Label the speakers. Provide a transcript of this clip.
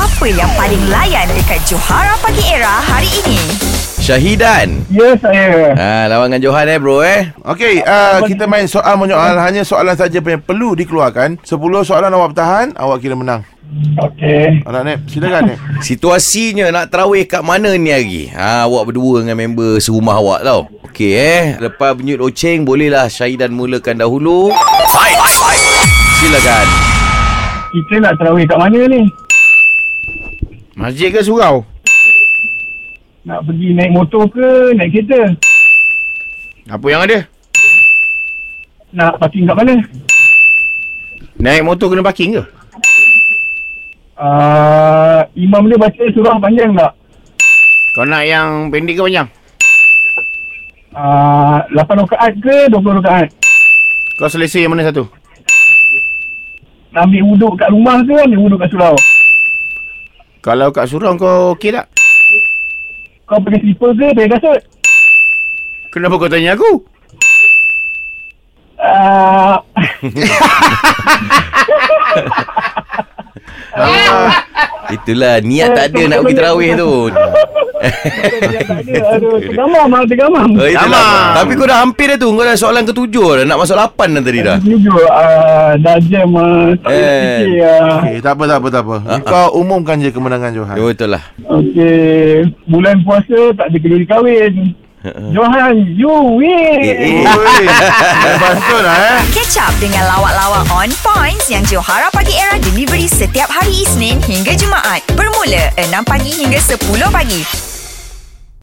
Speaker 1: apa yang paling layan dekat Johara Pagi Era hari ini?
Speaker 2: Syahidan.
Speaker 3: Ya saya.
Speaker 2: Ha, lawan dengan Johan eh bro eh.
Speaker 4: Okey, uh, kita main soal menyoal. Hanya soalan saja yang perlu dikeluarkan. 10 soalan awak bertahan, awak kira menang.
Speaker 3: Okey.
Speaker 4: Anak Nep, silakan Nep.
Speaker 2: Situasinya nak terawih kat mana ni hari? Ha, awak berdua dengan member serumah awak tau. Okey eh. Lepas bunyi loceng, bolehlah Syahidan mulakan dahulu. Silakan.
Speaker 3: Kita nak terawih kat mana ni?
Speaker 5: Masjid ke surau?
Speaker 3: Nak pergi naik motor ke naik kereta?
Speaker 5: Apa yang ada?
Speaker 3: Nak parking kat mana?
Speaker 5: Naik motor kena parking ke?
Speaker 3: Uh, imam dia baca surah panjang tak?
Speaker 5: Kau nak yang pendek ke panjang?
Speaker 3: Uh, 8 rakaat ke 20 rakaat?
Speaker 5: Kau selesai yang mana satu?
Speaker 3: Nak ambil wuduk kat rumah ke ambil wuduk kat surau?
Speaker 5: Kalau kat surau kau okey tak?
Speaker 3: Kau pakai slipper ke pakai kasut?
Speaker 5: Kenapa kau tanya aku?
Speaker 3: Uh,
Speaker 2: Itulah niat tak ada nak pergi terawih tu.
Speaker 3: aduh, tergamam lah, tergamam.
Speaker 2: Oh, itulah.
Speaker 5: Tamam.
Speaker 2: Tapi kau dah hampir dah tu. Kau dah soalan ketujuh dah. Nak masuk lapan dah tadi dah.
Speaker 3: Jujur, uh, dah jam uh, tak boleh
Speaker 2: Eh.
Speaker 3: fikir. Uh,
Speaker 4: Okey, tak apa, tak apa, tak apa.
Speaker 5: Ah,
Speaker 4: Kau umumkan je kemenangan Johan.
Speaker 2: Ya, betul lah.
Speaker 3: Okey, bulan puasa tak ada keduri kahwin. Johan, you win.
Speaker 2: Eh, eh.
Speaker 4: Oi, Lepas tu lah eh.
Speaker 1: Catch up dengan lawak-lawak on points yang Johara Pagi Era delivery setiap hari Isnin hingga Jumaat bermula 6 pagi hingga 10 pagi.